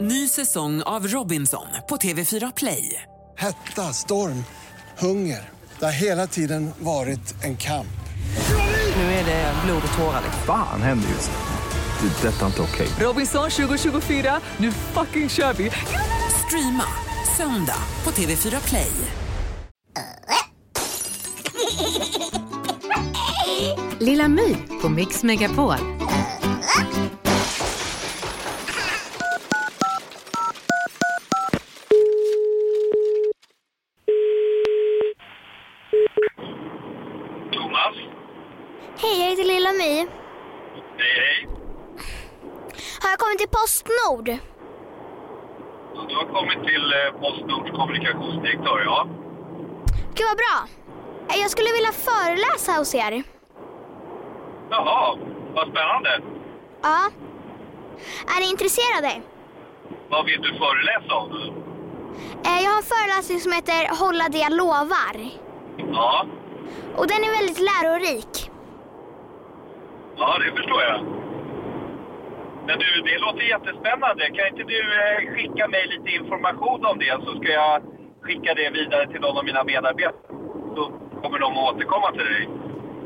Ny säsong av Robinson på TV4 Play. Hetta, storm, hunger. Det har hela tiden varit en kamp. Nu är det blod och tårar. Fan händer just nu. Det. är Detta är inte okej. Robinson 2024, nu fucking kör vi! Streama söndag på TV4 Play. Lilla My på Mix Megapol. Thomas. Hej, jag heter Lilla My. Hej, hej. Har jag kommit till Postnord? Du har kommit till eh, Postnords kommunikationsdirektör, ja. Gud vad bra. Eh, Jag skulle vilja föreläsa hos er. Jaha, vad spännande. Ja. Är ni intresserade? Vad vill du föreläsa om? Eh, Jag har en föreläsning som heter Hålla det jag lovar. Ja, Och den är väldigt lärorik. ja det förstår jag. Men du, det låter jättespännande. Kan inte du eh, skicka mig lite information om det så ska jag skicka det vidare till någon av mina medarbetare. Så kommer de att återkomma till dig.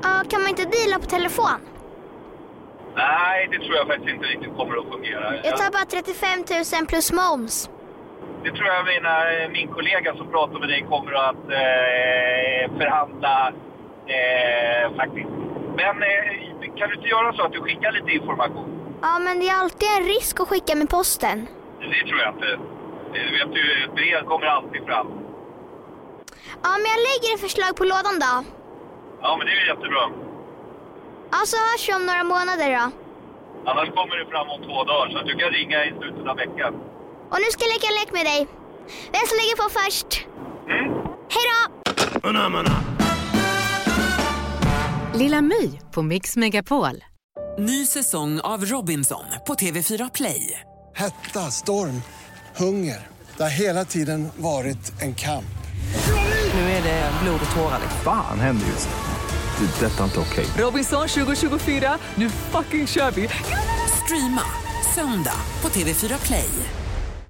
Ja, Kan man inte deala på telefon? Nej, det tror jag faktiskt inte riktigt kommer att fungera. Jag tar bara 35 000 plus moms. Det tror jag mina, min kollega som pratar med dig kommer att eh, förhandla eh, faktiskt. Men eh, kan du inte göra så att du skickar lite information? Ja, men det är alltid en risk att skicka med posten. Det tror jag inte. Eh, vet du, ett brev kommer alltid fram. Ja, men jag lägger ett förslag på lådan då. Ja, men det är ju jättebra. Ja, så hörs vi om några månader då. Annars kommer det fram om två dagar så att du kan ringa i slutet av veckan. Och nu ska jag leka en lek med dig. Vem som lägger på först? Hej då! Lilla My på Mix Megapol. Ny säsong av Robinson på TV4 Play. Hetta, storm, hunger. Det har hela tiden varit en kamp. Nu är det blod och tårar. Fan händer just nu. Det. är Detta är inte okej. Robinson 2024, nu fucking kör vi! Streama söndag på TV4 Play.